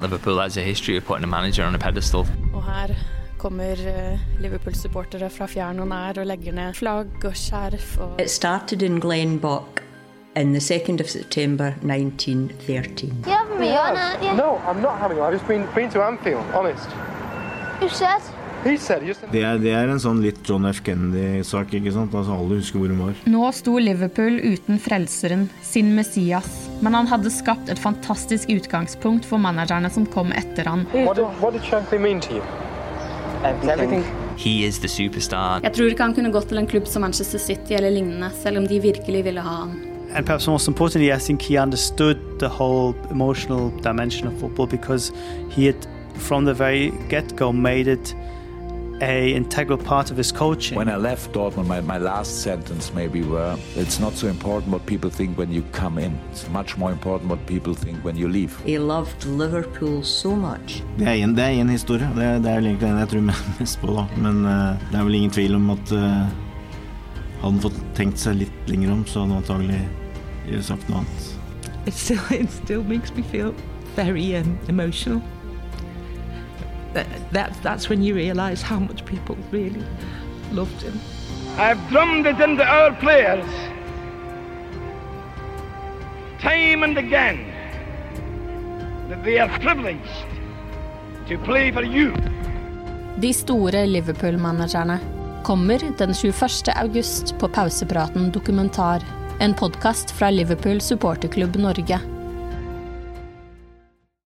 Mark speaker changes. Speaker 1: Liverpool has a history of putting a manager on a pedestal.
Speaker 2: Og her kommer eh, Liverpool-supportere fra fjern og nær og legger ned flagg og skjerf og
Speaker 3: It started in Glenbock on the 2nd of September 1913.
Speaker 4: You haven't been on it. Yeah.
Speaker 5: No, I'm not having it. I've just been, been to Anfield, honest.
Speaker 4: You said.
Speaker 5: He said, just
Speaker 6: Det er, det er en sånn litt John F. Kennedy-sak, ikke sant? Altså, alle husker hvor hun var.
Speaker 7: Nå sto Liverpool uten frelseren, sin Messias, men han hadde skapt et fantastisk utgangspunkt for managerne som kom etter han.
Speaker 5: what did, what did Shankly mean to you? Everything.
Speaker 1: He is the superstar.
Speaker 8: Jeg tror ikke han kunne gått til en klubb som Manchester City eller lignende, selv om de virkelig ville ha han.
Speaker 9: And perhaps most importantly, I think he understood the whole emotional dimension of football because he had, from the very get go, made it a integral part of his coaching.
Speaker 10: When I left Dortmund, my, my last sentence maybe were it's not so important what people think when you come in, it's much more important what people think when you leave.
Speaker 3: He loved Liverpool so much.
Speaker 6: Det er en, det er en historie. Det er, det er vel egentlig den jeg tror mest på, da. Men eh, det er vel ingen tvil om at eh, hadde han fått tenkt seg litt lenger om, så hadde han antagelig sagt noe annet.
Speaker 11: It still, it still makes me feel very um, emotional. That, that, that's when you realise how much people really loved him.
Speaker 5: I've drummed it into our players time and again that they are privileged to play for you.
Speaker 2: De store Liverpool-managerne kommer den 21. august på Pausepraten dokumentar. En podkast fra Liverpool supporterklubb Norge.